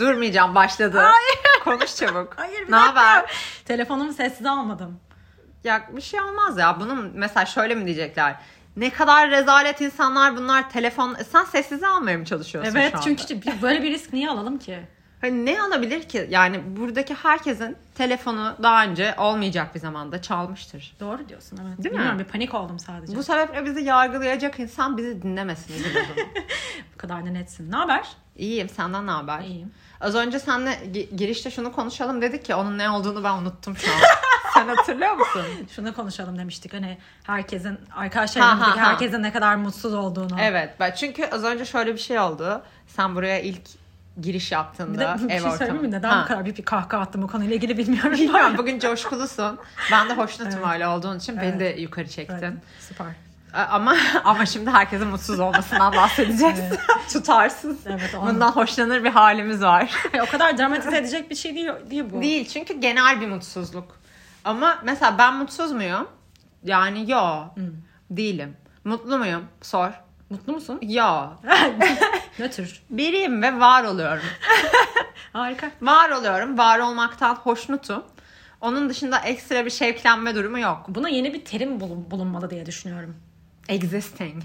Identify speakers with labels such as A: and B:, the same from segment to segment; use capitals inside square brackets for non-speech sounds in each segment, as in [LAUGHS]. A: Durmayacağım başladı. Konuş çabuk.
B: [LAUGHS] Hayır, bir
A: Ne haber?
B: Telefonumu sessize almadım.
A: Ya bir şey olmaz ya. Bunun mesela şöyle mi diyecekler? Ne kadar rezalet insanlar bunlar telefon... E Sen sessize almaya mı çalışıyorsun
B: evet
A: şu anda?
B: çünkü bir- böyle bir risk niye alalım ki?
A: Hani ne alabilir ki? Yani buradaki herkesin telefonu daha önce olmayacak bir zamanda çalmıştır.
B: Doğru diyorsun evet.
A: Değil mi?
B: Bilmiyorum bir panik oldum sadece. Bu,
A: Bu sebeple bizi yargılayacak insan bizi dinlemesin. bizim o
B: [LAUGHS]
A: zaman.
B: kadar da netsin. Ne haber?
A: İyiyim senden ne haber?
B: İyiyim.
A: Az önce seninle gi- girişte şunu konuşalım dedik ki onun ne olduğunu ben unuttum
B: [LAUGHS]
A: şu an. Sen hatırlıyor musun?
B: Şunu konuşalım demiştik. Hani herkesin arkadaş
A: Ha, ha,
B: evimizdeki
A: ha.
B: herkesin ne kadar mutsuz olduğunu.
A: Evet. ben- Çünkü az önce şöyle bir şey oldu. Sen buraya ilk giriş
B: Bir de
A: yaptığında
B: bir
A: ev
B: şey söyleyeyim mi?
A: ortamı.
B: Neden bu
A: Ha.
B: kadar büyük bir kahkaha attım bu konuyla ilgili bilmiyorum.
A: Bilmiyorum bugün coşkulusun. Ben de hoşnutum
B: Evet.
A: öyle olduğun için beni de yukarı çektin.
B: Evet, süper.
A: A- Ama [LAUGHS] ama şimdi herkesin mutsuz
B: [LAUGHS]
A: olmasından bahsedeceğiz. [LAUGHS] Tutarsız.
B: Evet, o an-
A: Bundan hoşlanır bir halimiz var.
B: o kadar dramatize edecek bir şey değil, değil [LAUGHS] bu.
A: Değil çünkü genel bir mutsuzluk. Ama mesela ben mutsuz muyum? Yani yo.
B: Hmm.
A: Değilim. Mutlu muyum? Sor. [LAUGHS]
B: Mutlu musun?
A: Yo.
B: Nötr.
A: Biriyim ve var oluyorum.
B: Harika.
A: Var oluyorum. Var olmaktan hoşnutum. Onun dışında ekstra bir şevklenme durumu yok.
B: Buna yeni bir terim bulun- bulunmalı diye düşünüyorum.
A: Existing.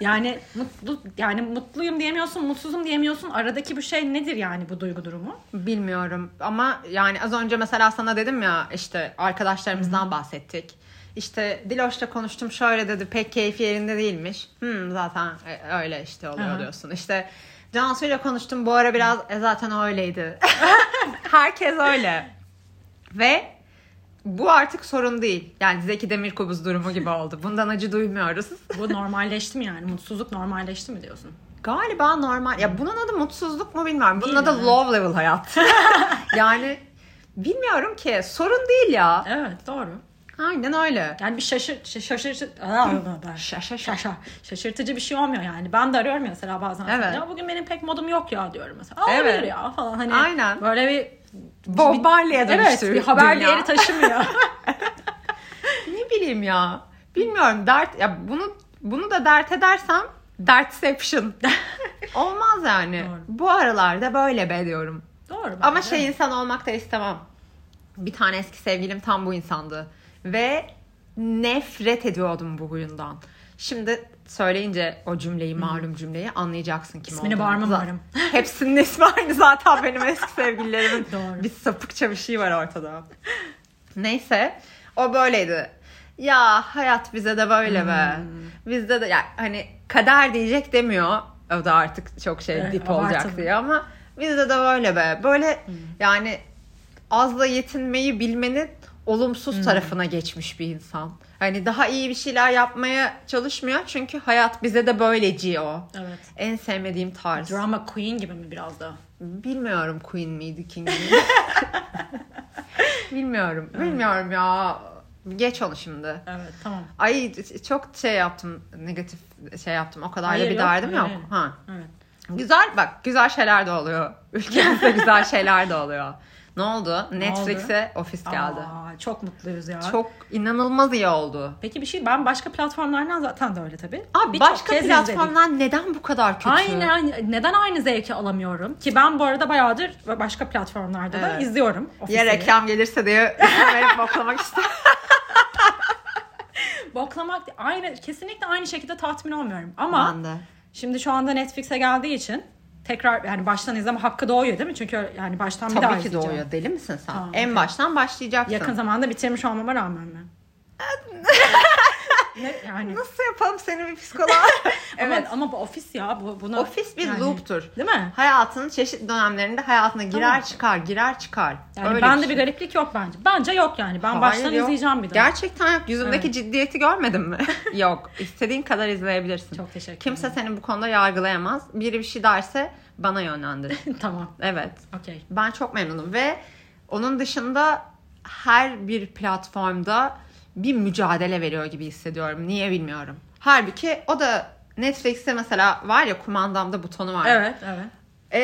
B: Yani mutlu yani mutluyum diyemiyorsun, mutsuzum diyemiyorsun. Aradaki bu şey nedir yani bu duygu durumu?
A: Bilmiyorum ama yani az önce mesela sana dedim ya işte arkadaşlarımızdan bahsettik. İşte Diloş'la konuştum şöyle dedi pek keyfi yerinde değilmiş. Hmm, zaten e, öyle işte oluyor
B: Aha.
A: diyorsun. İşte Cansu'yla konuştum bu ara biraz e, zaten öyleydi. Herkes öyle. Ve bu artık sorun değil. Yani Zeki Demirkubuz durumu gibi oldu. Bundan acı duymuyoruz.
B: Bu normalleşti mi yani? Mutsuzluk normalleşti mi diyorsun?
A: Galiba normal. Ya bunun adı mutsuzluk mu bilmiyorum. Bunun
B: Değil
A: adı
B: mi?
A: low level hayat.
B: [LAUGHS]
A: yani bilmiyorum ki. Sorun değil ya.
B: Evet doğru.
A: Aynen öyle.
B: Yani bir şaşır, şa- şaşırtı, Aa,
A: Şaşa şaşa.
B: şaşa, şaşırtıcı bir şey olmuyor yani. Ben de arıyorum ya mesela bazen.
A: Evet.
B: Ya bugün benim pek modum yok ya diyorum mesela. Aa,
A: Evet.
B: olabilir ya falan hani.
A: Aynen.
B: Böyle bir
A: Bob Marley'e
B: Evet,
A: dönüştü
B: bir haber
A: dünya. [LAUGHS]
B: değeri taşımıyor.
A: Ne bileyim ya. Bilmiyorum dert ya bunu bunu da dert edersem
B: [LAUGHS]
A: dertception. Olmaz yani.
B: Doğru.
A: Bu aralarda böyle be diyorum.
B: Doğru. bence.
A: Ama şey insan olmak da istemem. Bir tane eski sevgilim tam bu insandı. Ve nefret ediyordum bu huyundan. Şimdi söyleyince o cümleyi, malum cümleyi anlayacaksın kim
B: İsmini
A: olduğunu.
B: bağırma
A: Za-
B: umarım.
A: Hepsinin ismi aynı zaten benim eski sevgililerimin.
B: [LAUGHS] Doğru.
A: Bir sapıkça bir şey var ortada. Neyse o böyleydi. Ya hayat bize de böyle be.
B: Hmm.
A: Bizde de ya hani kader diyecek demiyor. O da artık çok şey
B: Evet,
A: dip
B: abartılı. Hmm.
A: olacak diye ama bizde de böyle be. Böyle yani azla yetinmeyi bilmenin olumsuz
B: Hmm.
A: tarafına geçmiş bir insan. Hani daha iyi bir şeyler yapmaya çalışmıyor çünkü hayat bize de böyleci o.
B: Evet.
A: En sevmediğim tarz.
B: Drama queen gibi mi biraz da?
A: Bilmiyorum Queen miydi King miydi.
B: [LAUGHS]
A: Bilmiyorum.
B: Hmm.
A: Bilmiyorum ya. Geç onu şimdi.
B: Evet tamam.
A: Ay çok şey yaptım. Negatif şey yaptım. O kadar
B: Hayır,
A: da bir
B: yok,
A: derdim yok.
B: hayır, hayır.
A: Ha.
B: Evet.
A: Güzel bak güzel şeyler de oluyor. Ülkemizde güzel şeyler de oluyor. Ne oldu? Netflix'e ofis geldi.
B: Aa, çok mutluyuz ya.
A: Çok inanılmaz iyi oldu.
B: Peki bir şey ben başka platformlardan zaten de öyle tabii.
A: Abi
B: Birçok
A: başka
B: kez izledik.
A: platformlar neden bu kadar kötü?
B: Aynen. Neden aynı zevki alamıyorum? Ki ben bu arada bayağıdır ve başka platformlarda da
A: Evet.
B: izliyorum.
A: Ya
B: Ofisini.
A: reklam gelirse diye
B: [LAUGHS]
A: [LAUGHS] verip boklamak ister.
B: Boklamak aynı kesinlikle aynı şekilde tatmin olmuyorum. Ama
A: Ben de.
B: şimdi şu anda Netflix'e geldiği için tekrar yani baştan izleme hakkı doğuyor değil mi? Çünkü yani baştan bir daha
A: Tabii ki
B: izleyeceğim.
A: doğuyor. Deli misin sen?
B: Tamam,
A: en
B: okey.
A: baştan başlayacaksın.
B: Yakın zamanda bitirmiş olmama
A: [LAUGHS]
B: rağmen mi? ne, yani
A: Nasıl yapalım seni bir psikoloğa?
B: [LAUGHS]
A: [LAUGHS] evet.
B: Ama, ama bu ofis ya bu buna
A: Ofis bir
B: yani-
A: loop'tur.
B: Değil mi?
A: Hayatının çeşitli dönemlerinde hayatına girer
B: Tamam.
A: çıkar, girer çıkar.
B: Yani
A: Öyle
B: bende
A: bir
B: bir
A: şey.
B: gariplik yok bence. Bence yok yani. Ben
A: Hayır,
B: baştan
A: yok.
B: izleyeceğim bir daha.
A: Gerçekten yok. Yüzündeki ciddiyeti görmedin
B: [LAUGHS]
A: mi? yok. İstediğin kadar izleyebilirsin.
B: Çok teşekkür
A: Kimse seni bu konuda yargılayamaz. Biri bir şey derse bana
B: [LAUGHS]
A: yönlendir.
B: tamam.
A: evet.
B: Okey.
A: Ben çok memnunum ve onun dışında her bir platformda bir mücadele veriyor gibi hissediyorum. Niye bilmiyorum. Halbuki o da Netflix'te mesela var ya kumandamda butonu var.
B: Evet, evet.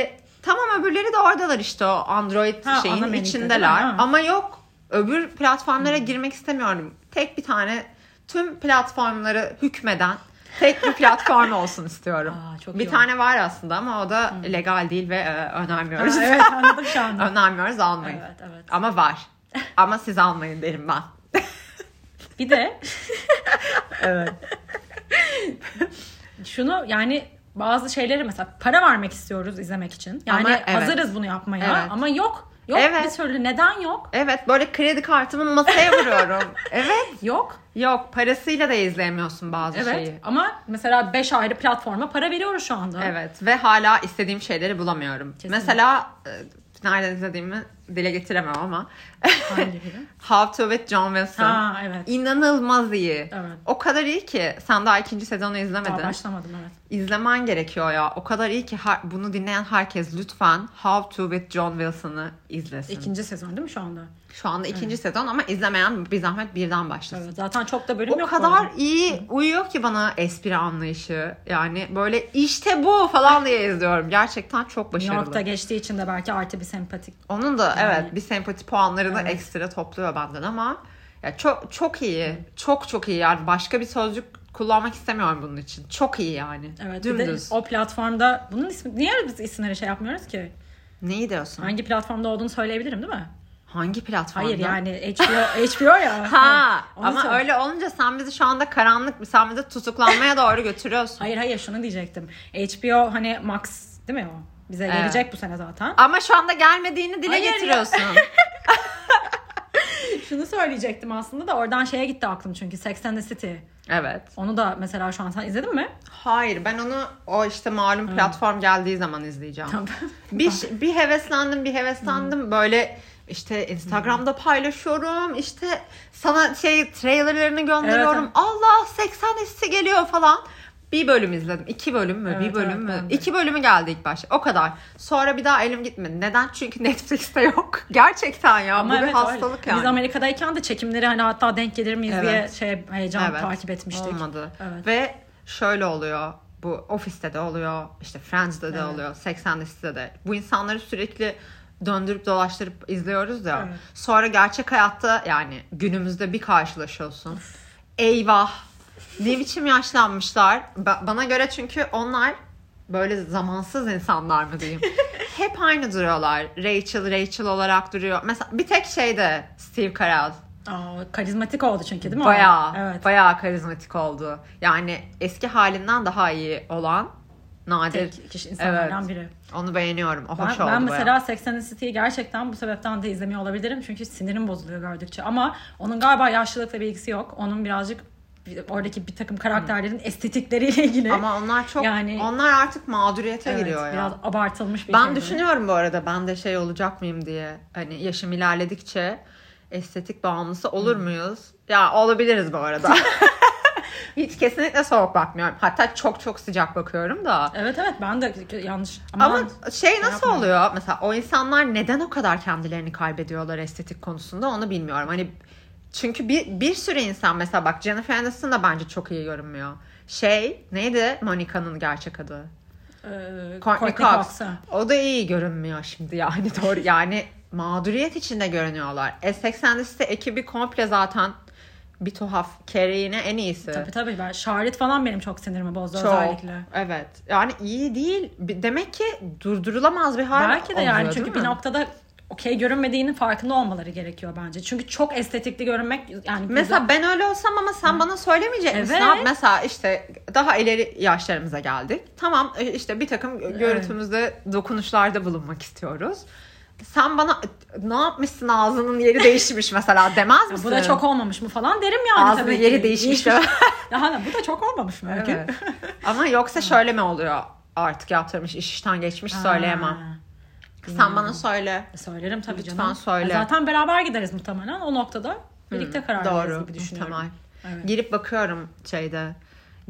A: E, tamam öbürleri de oradalar işte o Android
B: Ha, ana
A: şeyin
B: menüde
A: içindeler.
B: değil mi? Ha. Hmm.
A: Ama yok öbür platformlara girmek istemiyorum. Tek bir tane tüm platformları hükmeden Tek bir
B: [LAUGHS]
A: platform olsun istiyorum.
B: Aa, çok
A: bir
B: iyi Hmm.
A: tane var aslında ama o da legal değil ve e, önermiyoruz.
B: Ha, evet [LAUGHS] anladım şu anda.
A: önermiyoruz almayın.
B: evet evet.
A: Ama var. Ama siz almayın derim ben.
B: Bir de
A: [LAUGHS] Evet.
B: [LAUGHS] şunu yani bazı şeyleri mesela para vermek istiyoruz izlemek için. Yani
A: Ama evet.
B: hazırız bunu yapmaya
A: Evet.
B: ama yok. Yok
A: Evet.
B: bir türlü neden yok?
A: Evet böyle kredi kartımı masaya
B: [LAUGHS]
A: vuruyorum. evet.
B: Yok.
A: Yok parasıyla da izleyemiyorsun bazı
B: Evet.
A: şeyi.
B: Ama mesela 5 ayrı platforma para veriyoruz şu anda.
A: Evet ve hala istediğim şeyleri bulamıyorum.
B: Kesinlikle.
A: Mesela e, nereden izlediğimi dile getiremem ama [LAUGHS]
B: Hangi biri?
A: How to with John Wilson.
B: Ha evet.
A: İnanılmaz iyi.
B: Evet.
A: O kadar iyi ki sen daha ikinci sezonu
B: Daha
A: izlemedin.
B: başlamadım evet.
A: İzlemen gerekiyor ya. O kadar iyi ki her- bunu dinleyen herkes lütfen How to with John Wilson'ı izlesin.
B: İkinci sezon değil mi şu anda?
A: Şu anda ikinci sezon ama izlemeyen bir zahmet birden başlasın.
B: Evet. Zaten çok da bölüm
A: O
B: yok. bu
A: kadar şey
B: arada.
A: iyi uyuyor ki bana espri anlayışı. Yani böyle işte bu falan diye izliyorum. Gerçekten çok
B: New York'ta
A: başarılı.
B: geçtiği için de belki artı bir sempatik.
A: Onun da
B: Yani.
A: evet bir sempati puanlarını
B: Evet.
A: ekstra topluyor benden ama ya çok çok iyi. Çok çok iyi yani başka bir sözcük kullanmak istemiyorum bunun için. Çok iyi yani.
B: Evet. Bir de
A: Dümdüz.
B: o platformda bunun ismi niye biz isimleri şey yapmıyoruz ki?
A: Neyi diyorsun?
B: Hangi platformda olduğunu söyleyebilirim değil mi?
A: Hangi platformda?
B: Hayır yani
A: [LAUGHS]
B: HBO, HBO ya.
A: Ha
B: Onu
A: ama
B: söyle.
A: öyle olunca sen bizi şu anda karanlık bir sen bizi tutuklanmaya doğru götürüyorsun.
B: Hayır hayır şunu diyecektim. HBO hani Max değil mi o? Bize
A: Evet.
B: gelecek bu sene zaten.
A: Ama şu anda gelmediğini dile
B: Hayır ya. [LAUGHS]
A: getiriyorsun.
B: Şunu söyleyecektim aslında da oradan şeye gitti aklım çünkü Sex and the City.
A: evet.
B: Onu da mesela şu an sen
A: [LAUGHS]
B: izledin mi?
A: Hayır ben onu o işte malum
B: Hmm.
A: platform geldiği zaman izleyeceğim. bir, ş- bir heveslendim bir heveslendim
B: Hmm.
A: böyle işte Instagram'da paylaşıyorum işte sana şey trailerlerini gönderiyorum.
B: evet.
A: Allah 80 hissi geliyor falan. Bir bölüm izledim. iki bölüm mü? bir
B: Evet,
A: bölüm
B: evet,
A: mü?
B: ben de.
A: İki bölümü geldi ilk başta. O kadar. Sonra bir daha elim gitmedi. Neden? Çünkü [LAUGHS] Netflix'te yok. Gerçekten ya. bu bir
B: evet,
A: hastalık
B: öyle.
A: yani.
B: Biz Amerika'dayken de çekimleri hani hatta denk gelir miyiz diye
A: Evet.
B: şey heyecan
A: Evet.
B: takip etmiştik.
A: Olmadı.
B: Evet.
A: Ve şöyle oluyor. Bu ofiste de oluyor. işte Friends'de de
B: Evet.
A: oluyor. 80'de de. Bu insanları sürekli döndürüp dolaştırıp izliyoruz ya.
B: Evet.
A: Sonra gerçek hayatta yani günümüzde bir karşılaşıyorsun. Eyvah. Ne biçim yaşlanmışlar. Ba- bana göre çünkü onlar böyle zamansız insanlar mı
B: [LAUGHS]
A: diyeyim. Hep aynı duruyorlar. Rachel Rachel olarak duruyor. Mesela bir tek şey de Steve Carell.
B: Aa, karizmatik oldu çünkü değil mi? o?
A: Bayağı,
B: Evet.
A: bayağı karizmatik oldu. Yani eski halinden daha iyi olan nadir.
B: Tek kişi insanlardan
A: Evet.
B: biri.
A: Onu beğeniyorum. O
B: Ben,
A: hoş oldu
B: ben
A: bayağı.
B: mesela Sex and the City'yi gerçekten bu sebepten de izlemiyor olabilirim. Çünkü sinirim bozuluyor gördükçe. Ama onun galiba yaşlılıkla bir ilgisi yok. Onun birazcık bir- oradaki bir takım karakterlerin estetikleriyle ilgili.
A: Hmm. Ama onlar çok
B: Yani-
A: onlar artık mağduriyete
B: [LAUGHS] Evet,
A: giriyor ya.
B: biraz abartılmış bir
A: Ben
B: şey bu.
A: düşünüyorum bu arada ben de şey olacak mıyım diye. Hani yaşım ilerledikçe estetik bağımlısı
B: Hmm.
A: olur muyuz? Ya olabiliriz bu
B: [LAUGHS]
A: arada. Hiç kesinlikle soğuk bakmıyorum. Hatta çok çok sıcak bakıyorum da.
B: Evet evet ben de yanlış.
A: Ama
B: Ama e,
A: şey nasıl
B: yapma.
A: oluyor? Mesela o insanlar neden o kadar kendilerini kaybediyorlar estetik konusunda onu bilmiyorum. Hani çünkü bir, bir sürü insan mesela bak Jennifer Aniston da bence çok iyi görünmüyor. Şey neydi Monica'nın gerçek adı?
B: e,
A: Courtney,
B: Courtney
A: Cox.
B: Cox'a.
A: O da iyi görünmüyor şimdi yani [LAUGHS] doğru. Yani mağduriyet içinde görünüyorlar. Essex and the City ekibi komple zaten bir tuhaf. Carrie yine en iyisi.
B: Tabii tabii ben şarit falan benim çok sinirimi bozdu
A: Çok.
B: özellikle.
A: Evet. Yani iyi değil. Bir- Demek ki durdurulamaz bir hal
B: Belki de yani
A: oluyor,
B: çünkü
A: değil
B: bir
A: mi?
B: noktada okey görünmediğinin farkında olmaları gerekiyor bence. Çünkü çok estetikli görünmek yani
A: Mesela ben öyle olsam ama sen bana söylemeyecek misin?
B: Evet.
A: Abi Mesela işte daha ileri yaşlarımıza geldik. Tamam e, işte bir takım görüntümüzde dokunuşlarda bulunmak istiyoruz. Sen bana "E, ne yapmışsın ağzının yeri [LAUGHS] değişmiş mesela demez
B: Ya
A: misin?
B: bu da çok olmamış mı falan derim yani
A: Ağzının
B: tabii ki.
A: yeri
B: [LAUGHS]
A: değişmiş.
B: Değişmiş. Daha da bu da çok olmamış mı? Öykü?
A: Evet. ama yoksa şöyle mi oluyor? Artık yaptırmış, iş işten geçmiş söyleyemem.
B: Ha,
A: Sen bana söyle.
B: Söylerim tabii
A: Lütfen
B: canım.
A: söyle.
B: Ya Zaten beraber gideriz muhtemelen o noktada. Birlikte karar veririz
A: Doğru.
B: gibi düşünüyorum.
A: Muhtemel.
B: Evet.
A: Girip bakıyorum şeyde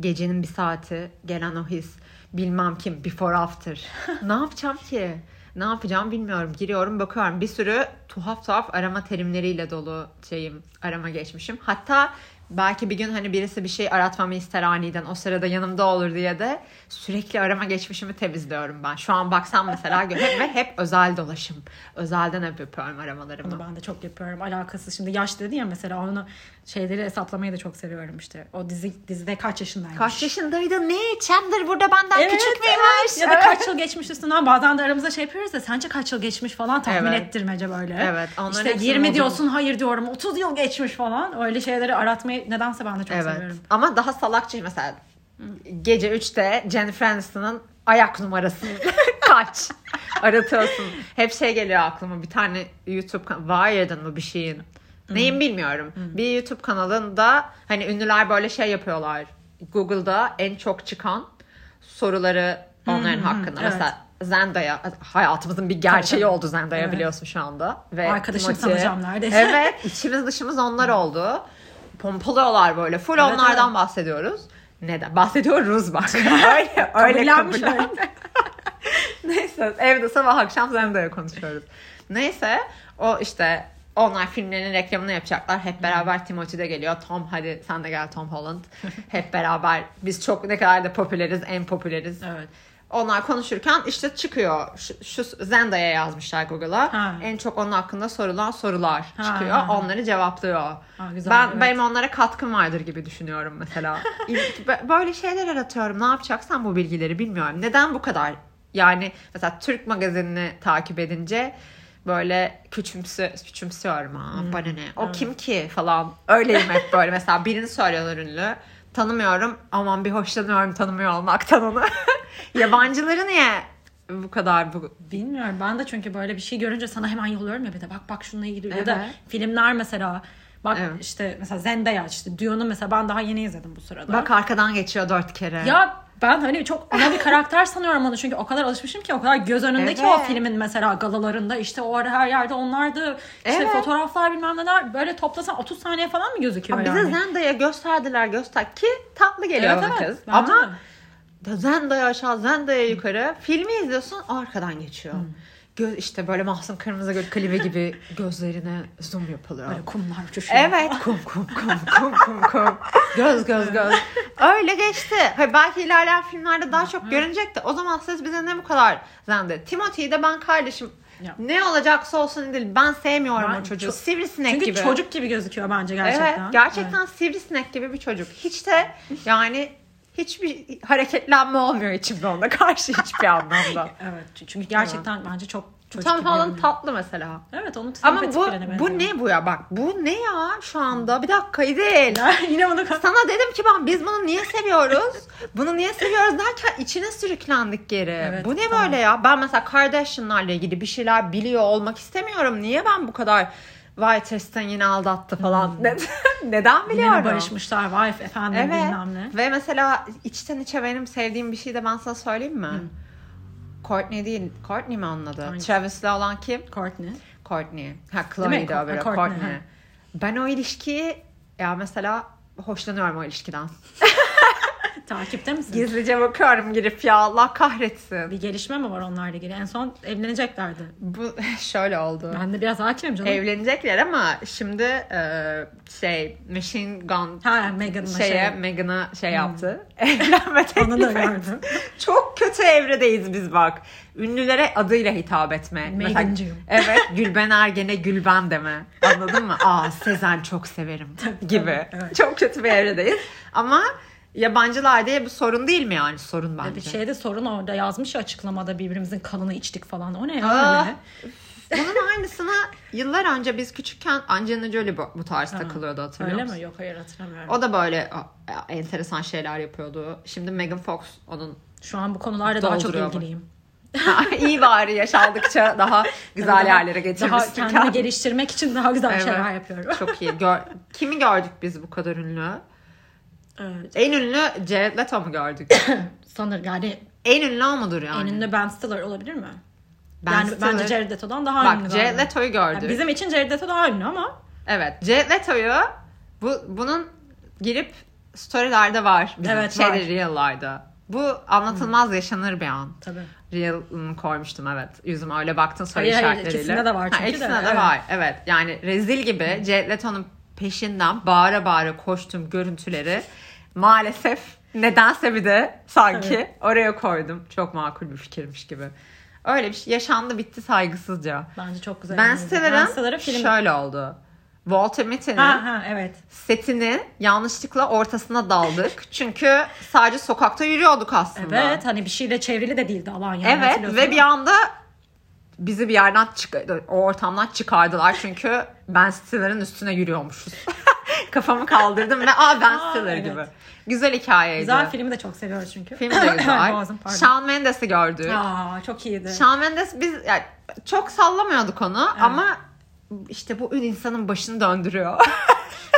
A: gecenin bir saati gelen o his bilmem kim before
B: [LAUGHS]
A: after. ne yapacağım ki? Ne yapacağım bilmiyorum. Giriyorum bakıyorum bir sürü tuhaf tuhaf arama terimleriyle dolu şeyim arama geçmişim. Hatta belki bir gün hani birisi bir şey aratmamı ister aniden o sırada yanımda olur diye de sürekli arama geçmişimi temizliyorum ben. Şu an baksam
B: [LAUGHS]
A: mesela gö- hep, ve hep özel dolaşım. Özelden hep yapıyorum aramalarımı.
B: Bunu ben de çok yapıyorum. Alakasız. Şimdi yaş dedi ya mesela onu şeyleri hesaplamayı da çok seviyorum işte. O dizi dizide kaç yaşındaymış.
A: Kaç yaşındaydı ne? Chandler burada benden
B: Evet,
A: küçük müymüş?
B: evet. Ya da
A: Evet. [LAUGHS]
B: kaç yıl geçmiş üstünden bazen de aramızda şey yapıyoruz da sence kaç yıl geçmiş falan tahmin
A: Evet.
B: ettirmece böyle.
A: Evet, onların
B: İşte
A: hepsini
B: 20
A: buldum.
B: diyorsun hayır diyorum 30 yıl geçmiş falan. Öyle şeyleri aratmayı nedense ben de çok
A: Evet.
B: seviyorum.
A: Ama daha salakça mesela gece 3'te Jennifer Aniston'ın ayak numarasını [LAUGHS] kaç aratıyorsun. Hep şey geliyor aklıma bir tane YouTube kan- Wired'ın mı bir şeyin.
B: Hmm.
A: Neyin bilmiyorum. Bir YouTube kanalında hani ünlüler böyle şey yapıyorlar. Google'da en çok çıkan soruları onların hakkında.
B: Hmm, evet.
A: Mesela Zendaya hayatımızın bir gerçeği
B: Tabii, tabii.
A: oldu Zendaya
B: Evet.
A: biliyorsun şu anda. Ve
B: Arkadaşım
A: Timothy.
B: sanacağım neredeyse.
A: Evet içimiz dışımız onlar oldu. Pompalıyorlar böyle. Full
B: Evet,
A: onlardan
B: evet.
A: bahsediyoruz. Neden? Bahsediyoruz
B: [LAUGHS]
A: bak. öyle öyle
B: Kabullenmiş
A: kabullen-
B: öyle.
A: [LAUGHS] Neyse evde sabah akşam Zendaya konuşuyoruz. Neyse o işte onlar filmlerinin reklamını yapacaklar. Hep beraber Timothy de geliyor. Tom hadi sen de gel Tom Holland.
B: [LAUGHS]
A: Hep beraber biz çok ne kadar da popüleriz en popüleriz.
B: Evet.
A: Onlar konuşurken işte çıkıyor. Şu, şu Zendaya yazmışlar
B: Ha.
A: Google'a. En çok onun hakkında sorulan sorular
B: Ha,
A: çıkıyor.
B: ha, ha.
A: Onları cevaplıyor.
B: Ah, güzel,
A: ben
B: evet.
A: benim onlara katkım vardır gibi düşünüyorum
B: [LAUGHS]
A: mesela. İl- bö- Böyle şeyler aratıyorum. Ne yapacaksan bu bilgileri bilmiyorum. Neden bu kadar? Yani mesela Türk magazinini takip edince böyle küçümsü küçümsüyorum ha
B: Hmm,
A: bana ne o kim ki falan öyleyim hep böyle mesela birini söylüyorlar ünlü tanımıyorum aman bir hoşlanıyorum tanımıyor olmaktan onu [LAUGHS] yabancıları niye bu kadar bu
B: Bilmiyorum ben de çünkü böyle bir şey görünce sana hemen yolluyorum ya bir de bak bak şununla ilgili ya da
A: Evet.
B: filmler mesela bak
A: Evet.
B: işte mesela Zendaya işte Dune'u mesela ben daha yeni izledim bu sırada.
A: bak arkadan geçiyor dört kere
B: Ya ben hani çok ana bir karakter sanıyorum onu çünkü o kadar alışmışım ki o kadar göz önünde ki o
A: Evet.
B: filmin mesela galalarında işte o ara her yerde onlardı işte
A: Evet.
B: fotoğraflar bilmem neler böyle toplasan 30 saniye falan mı gözüküyor
A: Ama
B: yani?
A: bize Zendaya gösterdiler göster ki tatlı geliyor
B: Evet,
A: bu
B: evet.
A: kız
B: Bence
A: ama Zendaya aşağı Zendaya yukarı filmi izliyorsun arkadan geçiyor Göz, işte böyle Mahsun Kırmızıgül klibi [LAUGHS] gibi gözlerine zoom yapılıyor.
B: Böyle kumlar uçuşuyor.
A: Evet. Kum kum kum kum kum kum. Göz göz göz. [LAUGHS] Öyle geçti. Hayır, belki ilerleyen filmlerde daha çok görünecek de o zaman siz bize ne bu kadar zandı. Timothy'yi de ben kardeşim
B: Ya.
A: ne olacaksa olsun değil. Ben sevmiyorum
B: Ben
A: o çocuğu.
B: çok-
A: Sivrisinek
B: Çünkü
A: gibi.
B: çocuk gibi gözüküyor bence gerçekten.
A: gerçekten. Evet. Gerçekten sivrisinek gibi bir çocuk. Hiç de yani hiçbir hareketlenme olmuyor içimde ona karşı hiçbir
B: [LAUGHS]
A: anlamda.
B: Evet. Evet. Çünkü gerçekten bence çok çocuk
A: Tam
B: gibi
A: falan
B: görünüyor.
A: tatlı mesela.
B: Evet onun sempatik
A: Ama bu,
B: birine
A: bu
B: benziyor.
A: ne bu ya bak bu ne ya şu anda bir dakikayı değil.
B: [LAUGHS] Yine bunu
A: Sana dedim ki ben biz bunu niye seviyoruz? Bunu niye seviyoruz derken içine sürüklendik geri.
B: Evet,
A: bu ne
B: tamam.
A: böyle ya? Ben mesela Kardashian'larla ilgili bir şeyler biliyor olmak istemiyorum. Niye ben bu kadar Vay Tristan yine aldattı falan. Neden- [LAUGHS] Neden
B: Hmm. Yine mi
A: biliyorum?
B: barışmışlar wife efendim
A: Evet.
B: bilmem ne.
A: Ve mesela içten içe benim sevdiğim bir şey de ben sana söyleyeyim mi? Courtney değil. Courtney mi onun adı?
B: Hangisi?
A: Travis'le olan kim?
B: Courtney.
A: Courtney. Ha
B: Değil mi?
A: Chloe de
B: Co-
A: öbürü.
B: Courtney,
A: Courtney.
B: ha.
A: Ben o ilişkiyi ya mesela hoşlanıyorum o
B: [LAUGHS]
A: ilişkiden.
B: Takipte misin?
A: Gizlice bakıyorum girip ya Allah kahretsin.
B: bir gelişme mi var onlarla ilgili? En son evleneceklerdi.
A: Bu [LAUGHS] şöyle oldu.
B: Ben de biraz hakimim canım.
A: Evlenecekler ama şimdi e, şey Machine Gun
B: ha Megan'la
A: şeye
B: şey.
A: Meghan'a şey
B: [LAUGHS]
A: yaptı. Evlenme
B: Onu
A: teklif
B: da
A: etti.
B: gördüm.
A: Çok kötü evredeyiz biz bak. Ünlülere adıyla hitap etme. Mesela-
B: Meghancığım.
A: Evet Gülben Ergen'e Gülben deme. Anladın mı? Aa Sezen çok severim gibi.
B: tabii, evet.
A: Çok kötü bir evredeyiz. Ama yabancılar diye bu sorun değil mi yani? Sorun bence.
B: Bir şeyde sorun orada yazmış ya açıklamada birbirimizin kanını içtik falan. O ne ya?
A: Aa.
B: Öyle.
A: Bunun aynısını yıllar önce biz küçükken Angelina Jolie bu, bu tarz takılıyordu hatırlıyor
B: Öyle
A: musun?
B: mi? Yok hayır hatırlamıyorum.
A: O da böyle a- a- enteresan şeyler yapıyordu. Şimdi Megan Fox onun
B: Şu an bu konularla daha çok
A: Dolduruyor bak.
B: ilgiliyim.
A: [LAUGHS] iyi bari yaşaldıkça daha güzel
B: Daha-
A: yerlere
B: Daha
A: getirmişsin.
B: kendimi
A: kendini.
B: geliştirmek için daha güzel
A: Evet.
B: şeyler yapıyorum.
A: [LAUGHS] Çok iyi. Gör- Kimi gördük biz bu kadar ünlü?
B: [LAUGHS] evet.
A: En ünlü Jared Leto mu
B: [LAUGHS]
A: gördük?
B: Sanır yani
A: en ünlü o mudur yani?
B: en ünlü Ben Stiller olabilir mi?
A: Ben
B: yani
A: Stiller-
B: bence Jared Leto'dan daha ünlü.
A: Bak Jared
B: galiba.
A: Leto'yu gördük.
B: Yani bizim için Jared Leto daha ünlü ama
A: Evet. Jared Leto'yu bu, bunun girip storylerde var. Bizim
B: Evet,
A: şeyde,
B: var.
A: Real'larda. Bu anlatılmaz yaşanır bir an.
B: tabii.
A: Real'ını ıı, koymuştum evet. Yüzüme öyle baktın soru
B: Hayır, hayır,
A: işaretleriyle.
B: ikisinde de var çünkü de,
A: ikisinde de,
B: evet.
A: var evet. Yani rezil gibi Jared Leto'nun peşinden bağıra bağıra koştum görüntüleri. Maalesef nedense bir de sanki
B: Evet.
A: oraya koydum. Çok makul bir fikirmiş gibi. Öyle bir şey yaşandı bitti saygısızca.
B: Bence çok güzel.
A: Ben
B: oldu. Sever'ın
A: Sever'ın
B: film...
A: şöyle oldu. Walter Mitty'nin
B: Ha ha evet.
A: setini yanlışlıkla ortasına daldık. Çünkü sadece sokakta yürüyorduk aslında.
B: Evet hani bir şeyle çevrili de değildi alan yani.
A: Evet
B: hatırlıyorsun
A: ve bir
B: değil mi?
A: anda bizi bir yerden çık- o ortamdan çıkardılar çünkü ben sitelerin üstüne yürüyormuşuz. [LAUGHS] Kafamı kaldırdım ve [LAUGHS] aa ben
B: Aa,
A: siteler
B: evet.
A: gibi. Güzel hikayeydi.
B: Güzel filmi de çok seviyoruz çünkü.
A: Film [LAUGHS] de güzel.
B: [LAUGHS] Boğazım pardon.
A: Shawn Mendes'i gördük.
B: Aa, çok iyiydi.
A: Shawn Mendes biz yani çok sallamıyorduk onu ama işte bu ün insanın başını döndürüyor.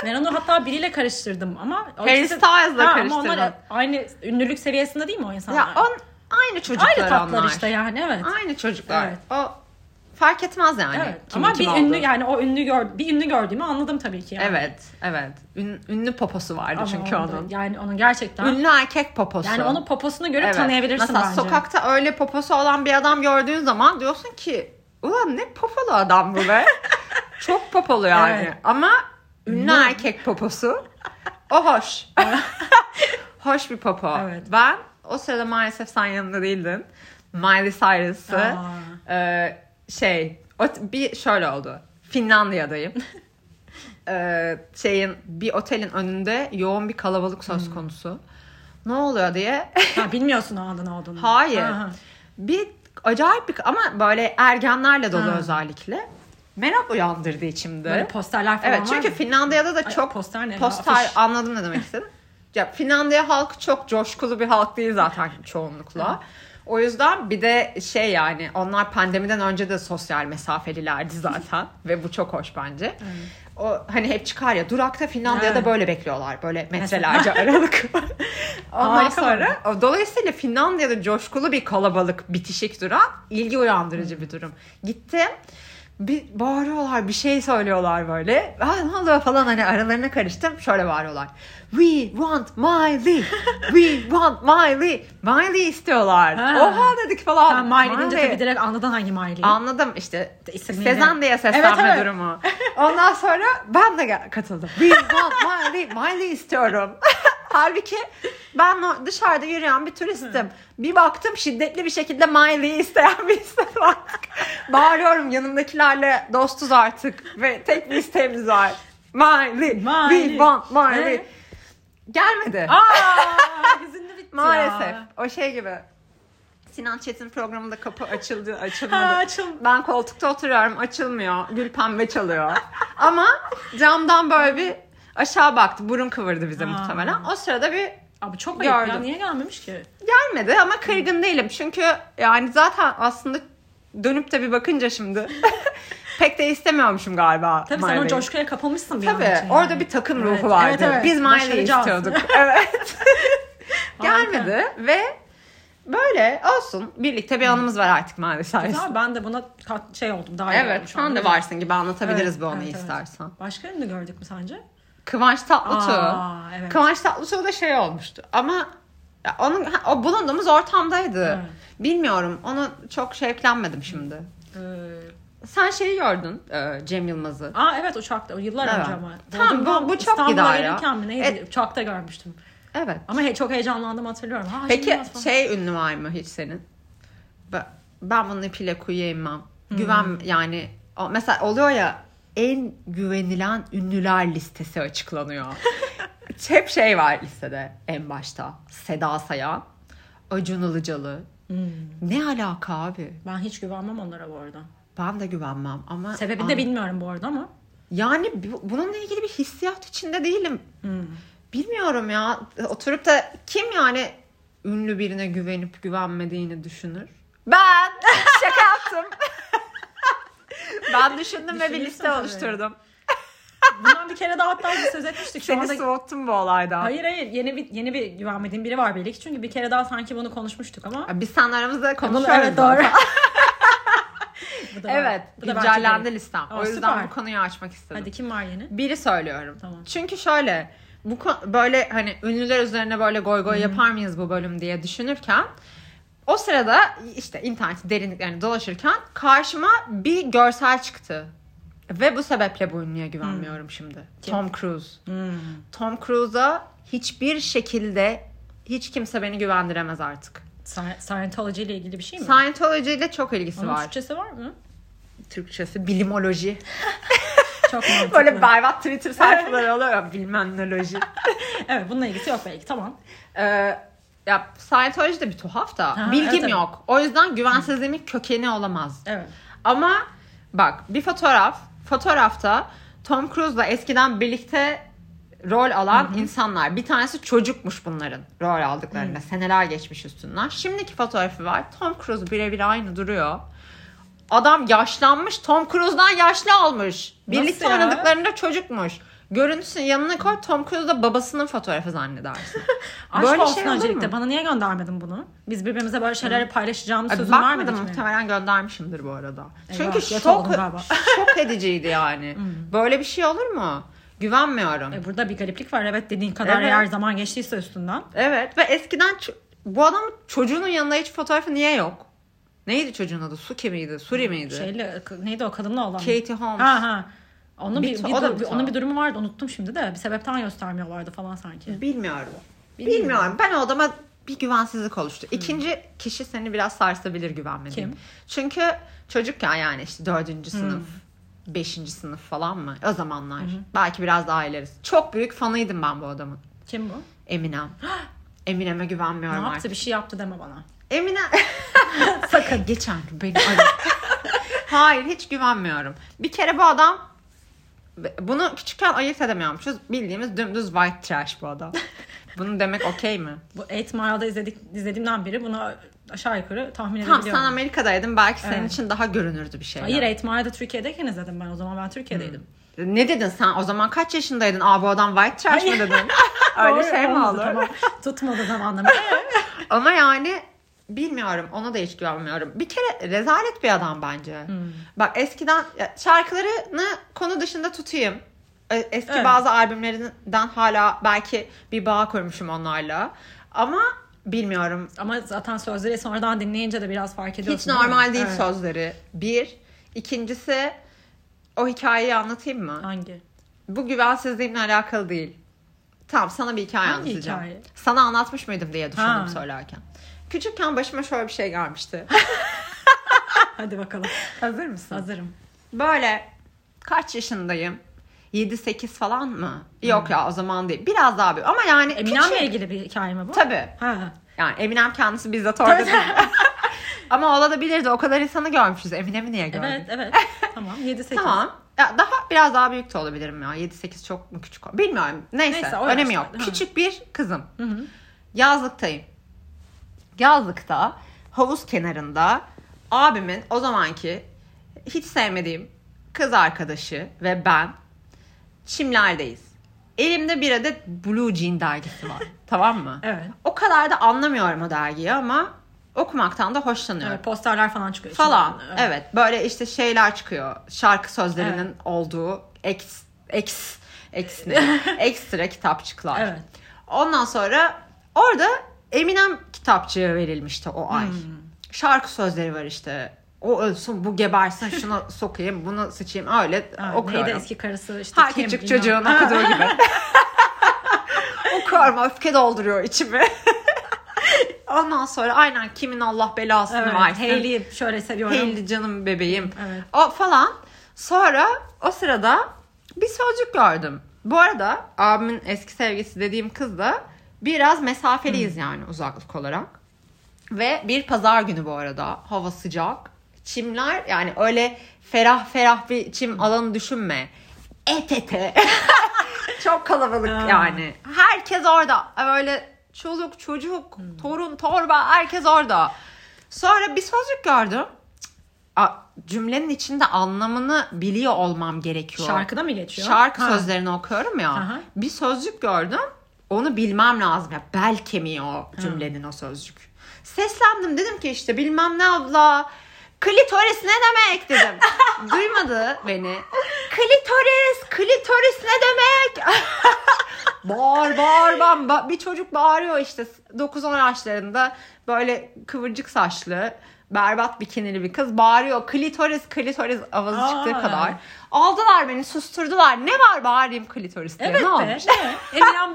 B: Ben onu hatta biriyle karıştırdım ama. o
A: Harry
B: ikisi-
A: Styles'la
B: Ha,
A: karıştırdım.
B: Ama onlar aynı ünlülük seviyesinde değil mi o insanlar?
A: [LAUGHS] ya on aynı çocuklar
B: Aynı tatlar
A: onlar.
B: işte yani evet.
A: Aynı çocuklar.
B: Evet.
A: O fark etmez yani.
B: evet.
A: kim
B: ama
A: kim
B: bir
A: olduğu.
B: ünlü yani o ünlü gör, bir ünlü gördüğümü anladım tabii ki. Yani.
A: Evet, evet. Ün- ünlü poposu vardı
B: Ama
A: çünkü
B: onun da-
A: onun.
B: Yani onun gerçekten.
A: Ünlü erkek poposu.
B: yani onun poposunu görüp
A: Evet.
B: tanıyabilirsin
A: Mesela
B: bence.
A: sokakta öyle poposu olan bir adam gördüğün zaman diyorsun ki ulan ne popolu adam bu
B: [LAUGHS]
A: be. Çok popolu yani.
B: Evet.
A: Ama ünlü erkek poposu o
B: [LAUGHS]
A: hoş. hoş bir popo.
B: Evet.
A: Ben o sırada maalesef sen yanında değildin. Miley Cyrus'ı
B: Aa.
A: ee, şey ot- bir şöyle oldu.
B: [LAUGHS]
A: Finlandiya'dayım. Ee, şeyin bir otelin önünde yoğun bir kalabalık
B: Hmm.
A: söz konusu. Ne oluyor diye.
B: Ha, bilmiyorsun o anda ne olduğunu.
A: Hayır.
B: Ha, ha.
A: bir acayip bir ama böyle ergenlerle dolu
B: Ha.
A: özellikle. Merak uyandırdı içimde.
B: Böyle posterler falan
A: evet
B: var
A: çünkü
B: mı?
A: Finlandiya'da da
B: Ay,
A: çok
B: poster ne ya?
A: poster
B: Afiş.
A: anladım ne demek
B: [LAUGHS]
A: istedim. Ya Finlandiya halkı çok coşkulu bir halk değil zaten çoğunlukla. O yüzden bir de şey yani onlar pandemiden önce de sosyal
B: [LAUGHS]
A: mesafelilerdi zaten ve bu çok hoş bence. O hani hep çıkar ya durakta Finlandiya'da
B: Evet.
A: böyle bekliyorlar böyle metrelerce
B: [LAUGHS]
A: aralık. var. Ondan
B: Harika
A: sonra dolayısıyla Finlandiya'da coşkulu bir kalabalık bitişik duran ilgi uyandırıcı bir durum. Gittim bir bağırıyorlar bir şey söylüyorlar böyle. Ah, ne oluyor falan hani aralarına karıştım. Şöyle bağırıyorlar. We want Miley. We want Miley. Miley istiyorlar.
B: Ha.
A: Oha dedik falan.
B: Ha, Miley deyince
A: Miley.
B: tabii direkt anladın hangi Miley'i.
A: Anladım işte
B: İsimleri.
A: Sezen diye seslenme
B: Evet, evet.
A: durumu. [LAUGHS] Ondan sonra ben de gel- katıldım. We want Miley, Miley istiyorum. [LAUGHS] Halbuki ben o dışarıda yürüyen bir turistim. Bir baktım şiddetli bir şekilde Miley'i isteyen bir insan var. [LAUGHS] Bağırıyorum yanımdakilerle dostuz artık ve tek bir isteğimiz var. Miley, we
B: Miley.
A: want Miley.
B: Ee?
A: Gelmedi.
B: Aa,
A: [LAUGHS]
B: hüzünlü bitti
A: Maalesef.
B: ya.
A: O şey gibi. Sinan Çetin programında kapı açıldı, açılmadı.
B: Ha, açıl.
A: Ben koltukta oturuyorum açılmıyor. Gül pembe çalıyor. Ama camdan böyle bir aşağı baktı. Burun kıvırdı bize
B: Aa.
A: muhtemelen. O sırada bir
B: Abi çok ayıp ya
A: Gördüm.
B: niye gelmemiş ki?
A: gelmedi ama kırgın değilim. Çünkü yani zaten aslında dönüp de bir bakınca şimdi [LAUGHS] pek de istemiyormuşum galiba.
B: Tabii sen o
A: Marvel'i.
B: coşkuya kapılmışsın bir an
A: Tabii
B: için yani.
A: orada bir takım
B: Evet,
A: ruhu vardı.
B: evet, evet.
A: Biz Miley'i
B: Başaracağız.
A: istiyorduk.
B: [LAUGHS]
A: evet. Gelmedi ve böyle olsun. Birlikte bir anımız var artık Miley sayesinde.
B: Güzel, ben de buna kat- şey oldum daha iyi oldum
A: Evet
B: şu
A: sen
B: an.
A: de varsın gibi anlatabiliriz
B: Evet,
A: bu anıyı
B: evet, evet.
A: istersen.
B: Başka ünlü gördük mü sence?
A: Kıvanç Tatlıtuğ.
B: Aa, evet.
A: Kıvanç Tatlıtuğ da şey olmuştu ama ya onun ha, o bulunduğumuz ortamdaydı.
B: Evet.
A: Bilmiyorum onu çok şevklenmedim şimdi.
B: Ee,
A: Sen şeyi gördün e, Cem Yılmaz'ı.
B: Aa evet uçakta o yıllar
A: Evet.
B: önce ama.
A: Tamam, bu-
B: Bodrum'dan
A: bu çok
B: İstanbul'a
A: gider ya.
B: gelirken mi neydi uçakta görmüştüm.
A: Evet.
B: Ama he, çok heyecanlandım hatırlıyorum. Ha,
A: Peki
B: Yılmaz falan.
A: şey ünlü var mı hiç senin? Ba- Ben bunun ipiyle kuyuya inmem. Güven yani o- mesela oluyor ya en güvenilen ünlüler listesi açıklanıyor. Hep şey var listede en başta. Seda Sayan, Acun Ilıcalı. Ne alaka abi?
B: Hmm, Ben hiç güvenmem onlara bu arada.
A: Ben de güvenmem ama
B: Sebebini de bilmiyorum bu arada ama.
A: yani bu- bununla ilgili bir hissiyat içinde değilim. Bilmiyorum ya. Oturup da kim yani ünlü birine güvenip güvenmediğini düşünür? Ben [LAUGHS] şaka yaptım. [LAUGHS] ben düşündüm ve bir
B: Düşünürsün
A: liste
B: tabii.
A: oluşturdum.
B: Bundan bir kere daha hatta biz söz etmiştik. Şu
A: Seni
B: anda...
A: soğuttum bu olaydan.
B: Hayır hayır yeni bir yeni bir güvenmediğim biri var belli ki. Çünkü bir kere daha sanki bunu konuşmuştuk ama.
A: Ya Biz sen aramızda konuşuyoruz.
B: evet doğru.
A: [LAUGHS]
B: [LAUGHS] Bu da var.
A: Evet.
B: Bu da bence
A: güncellendi
B: değil.
A: listem.
B: Aa,
A: o yüzden
B: süper.
A: bu konuyu açmak istedim.
B: Hadi kim var yeni?
A: Biri söylüyorum.
B: Tamam.
A: Çünkü şöyle bu ko- böyle hani ünlüler üzerine böyle goy goy yapar mıyız bu bölüm diye düşünürken o sırada işte internet derinliklerini dolaşırken karşıma bir görsel çıktı. Ve bu sebeple bu ünlüye güvenmiyorum şimdi. Tom Cruise. Tom Cruise'a hiçbir şekilde hiç kimse beni güvendiremez artık.
B: Sci- Scientology ile ilgili bir şey mi?
A: Scientology ile çok ilgisi
B: Onun
A: var.
B: Türkçesi
A: [LAUGHS]
B: var mı?
A: Türkçesi bilimoloji.
B: Çok mantıklı.
A: Böyle berbat Twitter sayfaları oluyor ya, bilmemnoloji.
B: Evet bununla ilgisi yok belki tamam.
A: Ee, ya Scientology de bir tuhaf da
B: Ha,
A: bilgim
B: evet, evet.
A: yok. O yüzden güvensizliğimin kökeni olamaz.
B: Evet.
A: Ama bak bir fotoğraf. Fotoğrafta Tom Cruise'la eskiden birlikte rol alan insanlar. Bir tanesi çocukmuş bunların rol aldıklarında. Seneler geçmiş üstünden. Şimdiki fotoğrafı var. Tom Cruise birebir aynı duruyor. Adam yaşlanmış. Tom Cruise'dan yaşlı almış. Birlikte
B: ya?
A: oynadıklarında çocukmuş. Görüntüsünü yanına koy. Tom Cruise da babasının fotoğrafı zannedersin.
B: [LAUGHS] Aşk
A: Böyle şey
B: olsun
A: olur
B: öncelikle.
A: mu?
B: Bana niye göndermedin bunu? Biz birbirimize böyle şeyler paylaşacağımız
A: Ay,
B: sözün var E, mıydı
A: E, Bakmadım
B: ki?
A: muhtemelen göndermişimdir bu arada.
B: Eyvah,
A: Çünkü
B: göt
A: şok,
B: oldum galiba. Hmm.
A: şok ediciydi
B: [LAUGHS]
A: yani. Böyle bir şey olur mu? Güvenmiyorum.
B: E, Burada bir gariplik var. Evet dediğin kadar
A: Evet.
B: eğer zaman geçtiyse üstünden.
A: Evet ve eskiden ç- bu adamın çocuğunun yanında hiç fotoğrafı niye yok? Neydi çocuğun adı? Suki miydi? Suri miydi?
B: Şeyle, neydi o kadınla olan?
A: Katie Holmes.
B: Hmm. Şey- Ha ha. Onun bir,
A: Bir-
B: bir
A: o da
B: dur-
A: bir
B: bir-
A: tuhaf.
B: onun bir durumu vardı unuttum şimdi de. Bir sebepten göstermiyorlardı falan sanki.
A: Bilmiyorum. Bilmiyorum. Ben o adama bir güvensizlik oluştu. İkinci kişi seni biraz sarsabilir güvenmediğim.
B: Hmm. Kim? Hmm.
A: Çünkü çocukken yani işte dördüncü sınıf, beşinci sınıf falan mı? O zamanlar. Belki biraz daha ilerisi. Çok büyük fanıydım ben bu adamın.
B: Kim bu? [GASPS]
A: Eminem. Eminem'e
B: Ne
A: güvenmiyorum
B: yaptı?
A: artık.
B: Bir şey yaptı deme bana.
A: Eminem. [LAUGHS] Sakın geçen gün beni ara. [LAUGHS] Hayır hiç güvenmiyorum. Bir kere bu adam bunu küçükken ayırt edemiyormuşuz. Bildiğimiz dümdüz white trash bu [LAUGHS] adam. Bunu demek okey mi?
B: Bu 8 Mile'da izledik, izlediğimden beri bunu aşağı yukarı tahmin
A: Tamam sen
B: edebiliyorum.
A: Amerika'daydın belki senin
B: Evet.
A: için daha görünürdü bir şeyler.
B: Hayır 8 Mile'da Türkiye'deyken izledim ben o zaman. Ben Türkiye'deydim.
A: Ne dedin sen? O zaman kaç yaşındaydın? Aa bu adam white trash mı dedin? Öyle
B: [LAUGHS] Doğru,
A: şey mi
B: olmadı,
A: olur?
B: Tamam. Tutmadı
A: [LAUGHS]
B: zamanlama.
A: Ama yani bilmiyorum ona da hiç güvenmiyorum. Bir kere rezalet bir adam bence.
B: Hmm.
A: Bak eskiden ya şarkılarını konu dışında tutayım. E, Eski
B: Evet.
A: bazı albümlerinden hala belki bir bağ kurmuşum onlarla. Ama bilmiyorum.
B: Ama zaten sözleri sonradan dinleyince de biraz fark ediyorsun.
A: Hiç
B: değil mi?
A: normal değil
B: Evet.
A: sözleri. Bir. İkincisi o hikayeyi anlatayım mı?
B: Hangi?
A: Bu güvensizliğimle alakalı değil. Tamam sana bir hikaye
B: Hangi
A: anlatacağım.
B: hikaye?
A: Sana anlatmış mıydım diye düşündüm
B: Ha.
A: söylerken. Küçükken başıma şöyle bir şey gelmişti.
B: Hadi bakalım.
A: Hazır mısın?
B: Hazırım.
A: Böyle kaç yaşındayım? 7-8 falan mı? Yok ya o zaman değil. Biraz daha büyük ama yani
B: Eminem'le
A: küçük.
B: Hmm. E, ilgili bir hikaye mi bu?
A: Tabii.
B: Ha.
A: Yani Eminem kendisi bizzat orada değil. [LAUGHS] ama olabilirdi. O kadar insanı görmüşüz. Eminem'i niye gördük?
B: Evet evet.
A: [LAUGHS]
B: tamam 7-8.
A: Tamam. Ya daha biraz daha büyük de olabilirim ya. 7-8 çok mu küçük? ol- Bilmiyorum. Neyse,
B: Neyse, o
A: önemi yok.
B: yaşlarda, ha.
A: Küçük bir kızım. Yazlıktayım. Yazlıkta havuz kenarında abimin o zamanki hiç sevmediğim kız arkadaşı ve ben çimlerdeyiz. Elimde bir adet Blue Jean dergisi
B: [LAUGHS]
A: var. tamam mı?
B: Evet.
A: O kadar da anlamıyorum o dergiyi ama okumaktan da hoşlanıyorum
B: Evet, posterler falan çıkıyor.
A: falan.
B: içinden.
A: Evet. Böyle işte şeyler çıkıyor. Şarkı sözlerinin olduğu ex ex ex
B: [LAUGHS]
A: ne? ekstra kitapçıklar.
B: Evet.
A: Ondan sonra orada Eminem kitapçığı verilmişti o ay.
B: Hmm.
A: Şarkı sözleri var işte. O ölsün, bu gebersin,
B: [LAUGHS]
A: şuna sokayım, bunu sıçayım. Öyle
B: Ha,
A: okuyorum.
B: Neydi eski karısı işte
A: Her
B: Kim,
A: küçük
B: bilmem.
A: çocuğun
B: Ha,
A: okuduğu
B: [LAUGHS]
A: gibi. Okuyorum öfke dolduruyor
B: [LAUGHS]
A: içimi. Ondan sonra aynen kimin Allah belasını
B: Evet,
A: versin.
B: Hayley'i şöyle seviyorum.
A: Hayley canım bebeğim.
B: Evet.
A: O falan. Sonra o sırada bir sözcük gördüm. Bu arada abimin eski sevgisi dediğim kız da biraz mesafeliyiz yani uzaklık olarak. Ve bir pazar günü bu arada. Hava sıcak. Çimler yani öyle ferah ferah bir çim alanı düşünme. Et ete. Çok kalabalık
B: Ha.
A: yani. Herkes orada. Böyle çoluk çocuk, torun torba herkes orada. Sonra bir sözcük gördüm. Cık. A, cümlenin içinde anlamını biliyor olmam gerekiyor.
B: Şarkıda mı geçiyor?
A: Şarkı
B: Ha.
A: sözlerini okuyorum ya.
B: Aha.
A: Bir sözcük gördüm. Onu bilmem lazım. Ya bel kemiği o cümlenin o sözcük. Seslendim dedim ki işte bilmem ne abla. Klitoris ne demek
B: [LAUGHS]
A: dedim. Duymadı beni. Klitoris, klitoris ne demek? [LAUGHS] bağır bağır bam. ba- Bir çocuk bağırıyor işte 9-10 yaşlarında böyle kıvırcık saçlı berbat bikinili bir kız bağırıyor. Klitoris klitoris avazı
B: Aa.
A: çıktığı kadar. Aldılar beni susturdular. Ne var bağırayım klitoris diye.
B: Evet
A: ne
B: be.
A: olmuş?
B: Ne? Eminem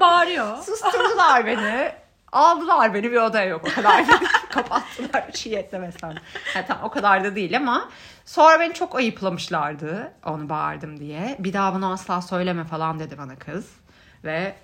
A: [LAUGHS]
B: bağırıyor.
A: Susturdular beni. Aldılar beni bir odaya yok o kadar. [LAUGHS] Kapattılar bir şey etmemesem. Ha, tamam o kadar da değil ama sonra beni çok ayıplamışlardı onu bağırdım diye. Bir daha bunu asla söyleme falan dedi bana kız. Ve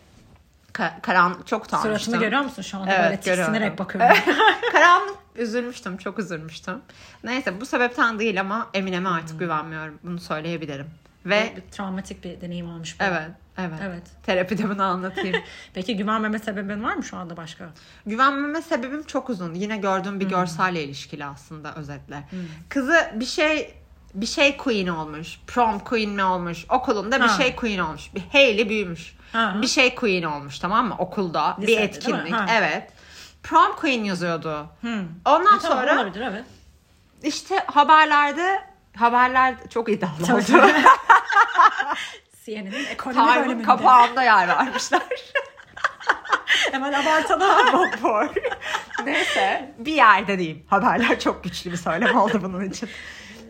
A: ka- karan çok utanmıştım.
B: Suratını görüyor musun şu anda
A: Evet,
B: böyle
A: görüyorum.
B: tiksinerek bakıyorum.
A: [LAUGHS] Karanlık üzülmüştüm çok üzülmüştüm. Neyse bu sebepten değil ama Emine'me artık güvenmiyorum bunu söyleyebilirim. Ve
B: Hmm. bir travmatik bir deneyim olmuş bu.
A: evet evet.
B: Evet.
A: Terapide bunu anlatayım.
B: [LAUGHS] Peki güvenmeme sebebin var mı şu anda başka?
A: Güvenmeme sebebim çok uzun. Yine gördüğüm bir
B: Hmm.
A: görselle ilişkili aslında özetle. Kızı bir şey bir şey queen olmuş. Prom queen mi olmuş? Okulunda bir
B: Ha.
A: şey queen olmuş. Bir heyli büyümüş.
B: Ha.
A: Bir şey queen olmuş tamam mı? Okulda
B: Lisede,
A: bir
B: değil mi?
A: etkinlik.
B: Ha. Hmm.
A: Evet. Prom queen yazıyordu. Ondan
B: E, Tamam,
A: sonra
B: olabilir evet.
A: işte haberlerde haberler çok iddialı
B: Tabii.
A: oldu.
B: CNN'in ekonomi
A: Time'ın
B: bölümünde.
A: kapağında yer vermişler.
B: Hemen abartalım.
A: [LAUGHS] Vapur. Neyse bir yerde diyeyim. Haberler çok güçlü bir söylem oldu bunun için.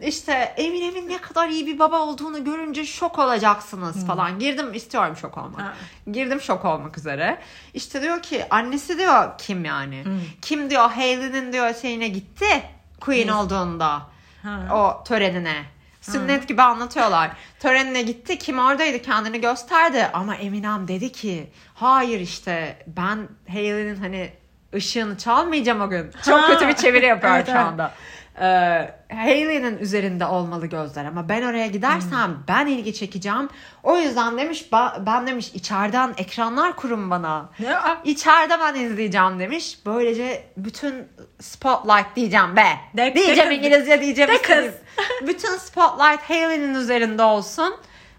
A: İşte Eminem'in ne kadar iyi bir baba olduğunu görünce şok olacaksınız falan. Girdim istiyorum şok olmak.
B: Ha.
A: Girdim şok olmak üzere. İşte diyor ki annesi diyor kim yani? Kim diyor Hayley'nin diyor şeyine gitti. Queen olduğunda.
B: Ha.
A: O törenine. Sünnet gibi anlatıyorlar. Törenine gitti. Kim oradaydı kendini gösterdi. Ama Eminem dedi ki hayır işte ben Hayley'nin hani ışığını çalmayacağım o gün. Çok
B: Ha.
A: kötü bir çeviri yapıyor
B: [LAUGHS] Evet,
A: şu
B: evet.
A: anda. Ee, Hayley'nin üzerinde olmalı gözler ama ben oraya gidersem
B: Hmm.
A: ben ilgi çekeceğim. O yüzden demiş ba- ben demiş içeriden ekranlar kurun bana.
B: Ne? Aa,
A: İçeride ben izleyeceğim demiş. Böylece bütün spotlight diyeceğim be.
B: De-
A: diyeceğim
B: de kız. [LAUGHS]
A: İngilizce diyeceğim.
B: De
A: istediğim. Bütün spotlight Hayley'nin üzerinde olsun.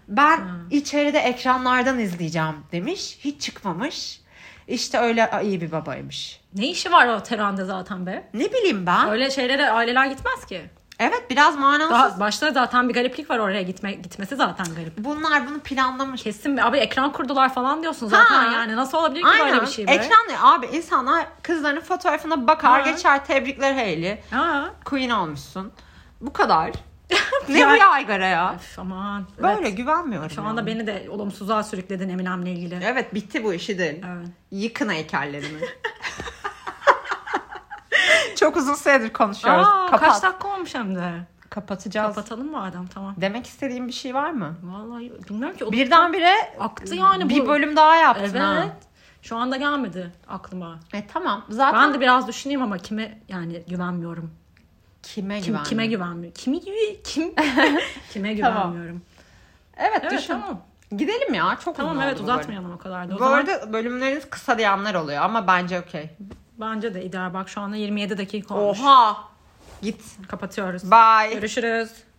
A: Ben içeride ekranlardan izleyeceğim demiş. Hiç çıkmamış. İşte öyle iyi bir babaymış.
B: Ne işi var o teranda zaten be?
A: Ne bileyim ben.
B: Öyle şeylere aileler gitmez ki.
A: Evet biraz manasız.
B: Daha başta zaten bir gariplik var oraya gitme gitmesi zaten garip.
A: Bunlar bunu planlamış.
B: Kesin bir- abi ekran kurdular falan diyorsun zaten
A: Ha.
B: yani nasıl olabilir ki böyle
A: Aynen.
B: bir şey be?
A: Ekran ne? Abi insanlar kızların fotoğrafına bakar
B: Ha.
A: geçer tebrikler Hayley.
B: Ha.
A: Queen olmuşsun. Bu
B: [LAUGHS]
A: kadar. ne bu
B: Yani-
A: yaygara ya?
B: Üf, aman.
A: Böyle
B: Evet.
A: güvenmiyorum.
B: Şu anda
A: ya.
B: beni de olumsuzluğa sürükledin Eminem'le ilgili.
A: Evet bitti bu işi değil.
B: Evet.
A: Yıkın
B: [LAUGHS]
A: heykellerini. Çok uzun süredir konuşuyoruz.
B: Aa,
A: Kapat.
B: kaç dakika olmuş hem de.
A: Kapatacağız.
B: Kapatalım mı adam tamam.
A: Demek istediğim bir şey var mı?
B: Vallahi bilmiyorum ki. o-
A: Birdenbire
B: aktı yani bu.
A: bir bölüm daha yaptın
B: Evet.
A: ha.
B: Şu anda gelmedi aklıma.
A: E tamam. Zaten
B: Ben de biraz düşüneyim ama kime yani güvenmiyorum.
A: kime
B: Kim,
A: güven?
B: kime güvenmiyorum? Kimi gibi
A: [LAUGHS]
B: kim? kime güvenmiyorum?
A: Evet,
B: Evet
A: düşün.
B: tamam.
A: Gidelim ya. Çok
B: Tamam
A: uzun
B: evet
A: oldu bu bölüm.
B: uzatmayalım o kadar da. O
A: Bu
B: zaman
A: arada bölümleriniz kısa diyenler oluyor ama bence okey.
B: bence de ideal. Bak şu anda 27 dakika olmuş.
A: Oha. Git.
B: Kapatıyoruz.
A: Bye.
B: Görüşürüz.